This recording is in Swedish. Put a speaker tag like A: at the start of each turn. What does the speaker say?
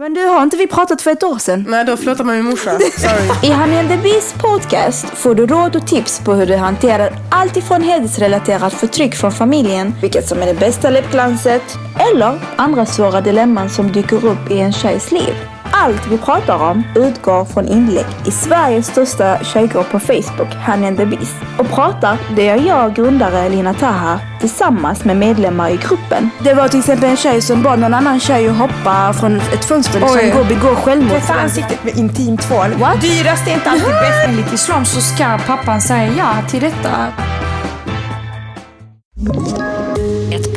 A: Men du, har inte vi pratat för ett år sedan?
B: Nej, då flörtar man med min morsa. Sorry.
C: I Honey and the Bees podcast får du råd och tips på hur du hanterar allt ifrån hedersrelaterat förtryck från familjen, vilket som är det bästa läppglanset, eller andra svåra dilemman som dyker upp i en tjejs liv. Allt vi pratar om utgår från inlägg i Sveriges största tjejgrupp på Facebook, Honey and the Bees. Och pratar, det gör jag, grundare Lina Taha, tillsammans med medlemmar i gruppen.
A: Det var till exempel en tjej som bad någon annan tjej att hoppa från ett fönster,
B: Oj.
A: liksom gå begå självmord.
D: Tvätta ansiktet med intimtvål. Dyrast är inte alltid bäst.
E: Enligt islam så ska pappan säga ja till detta.
F: Ett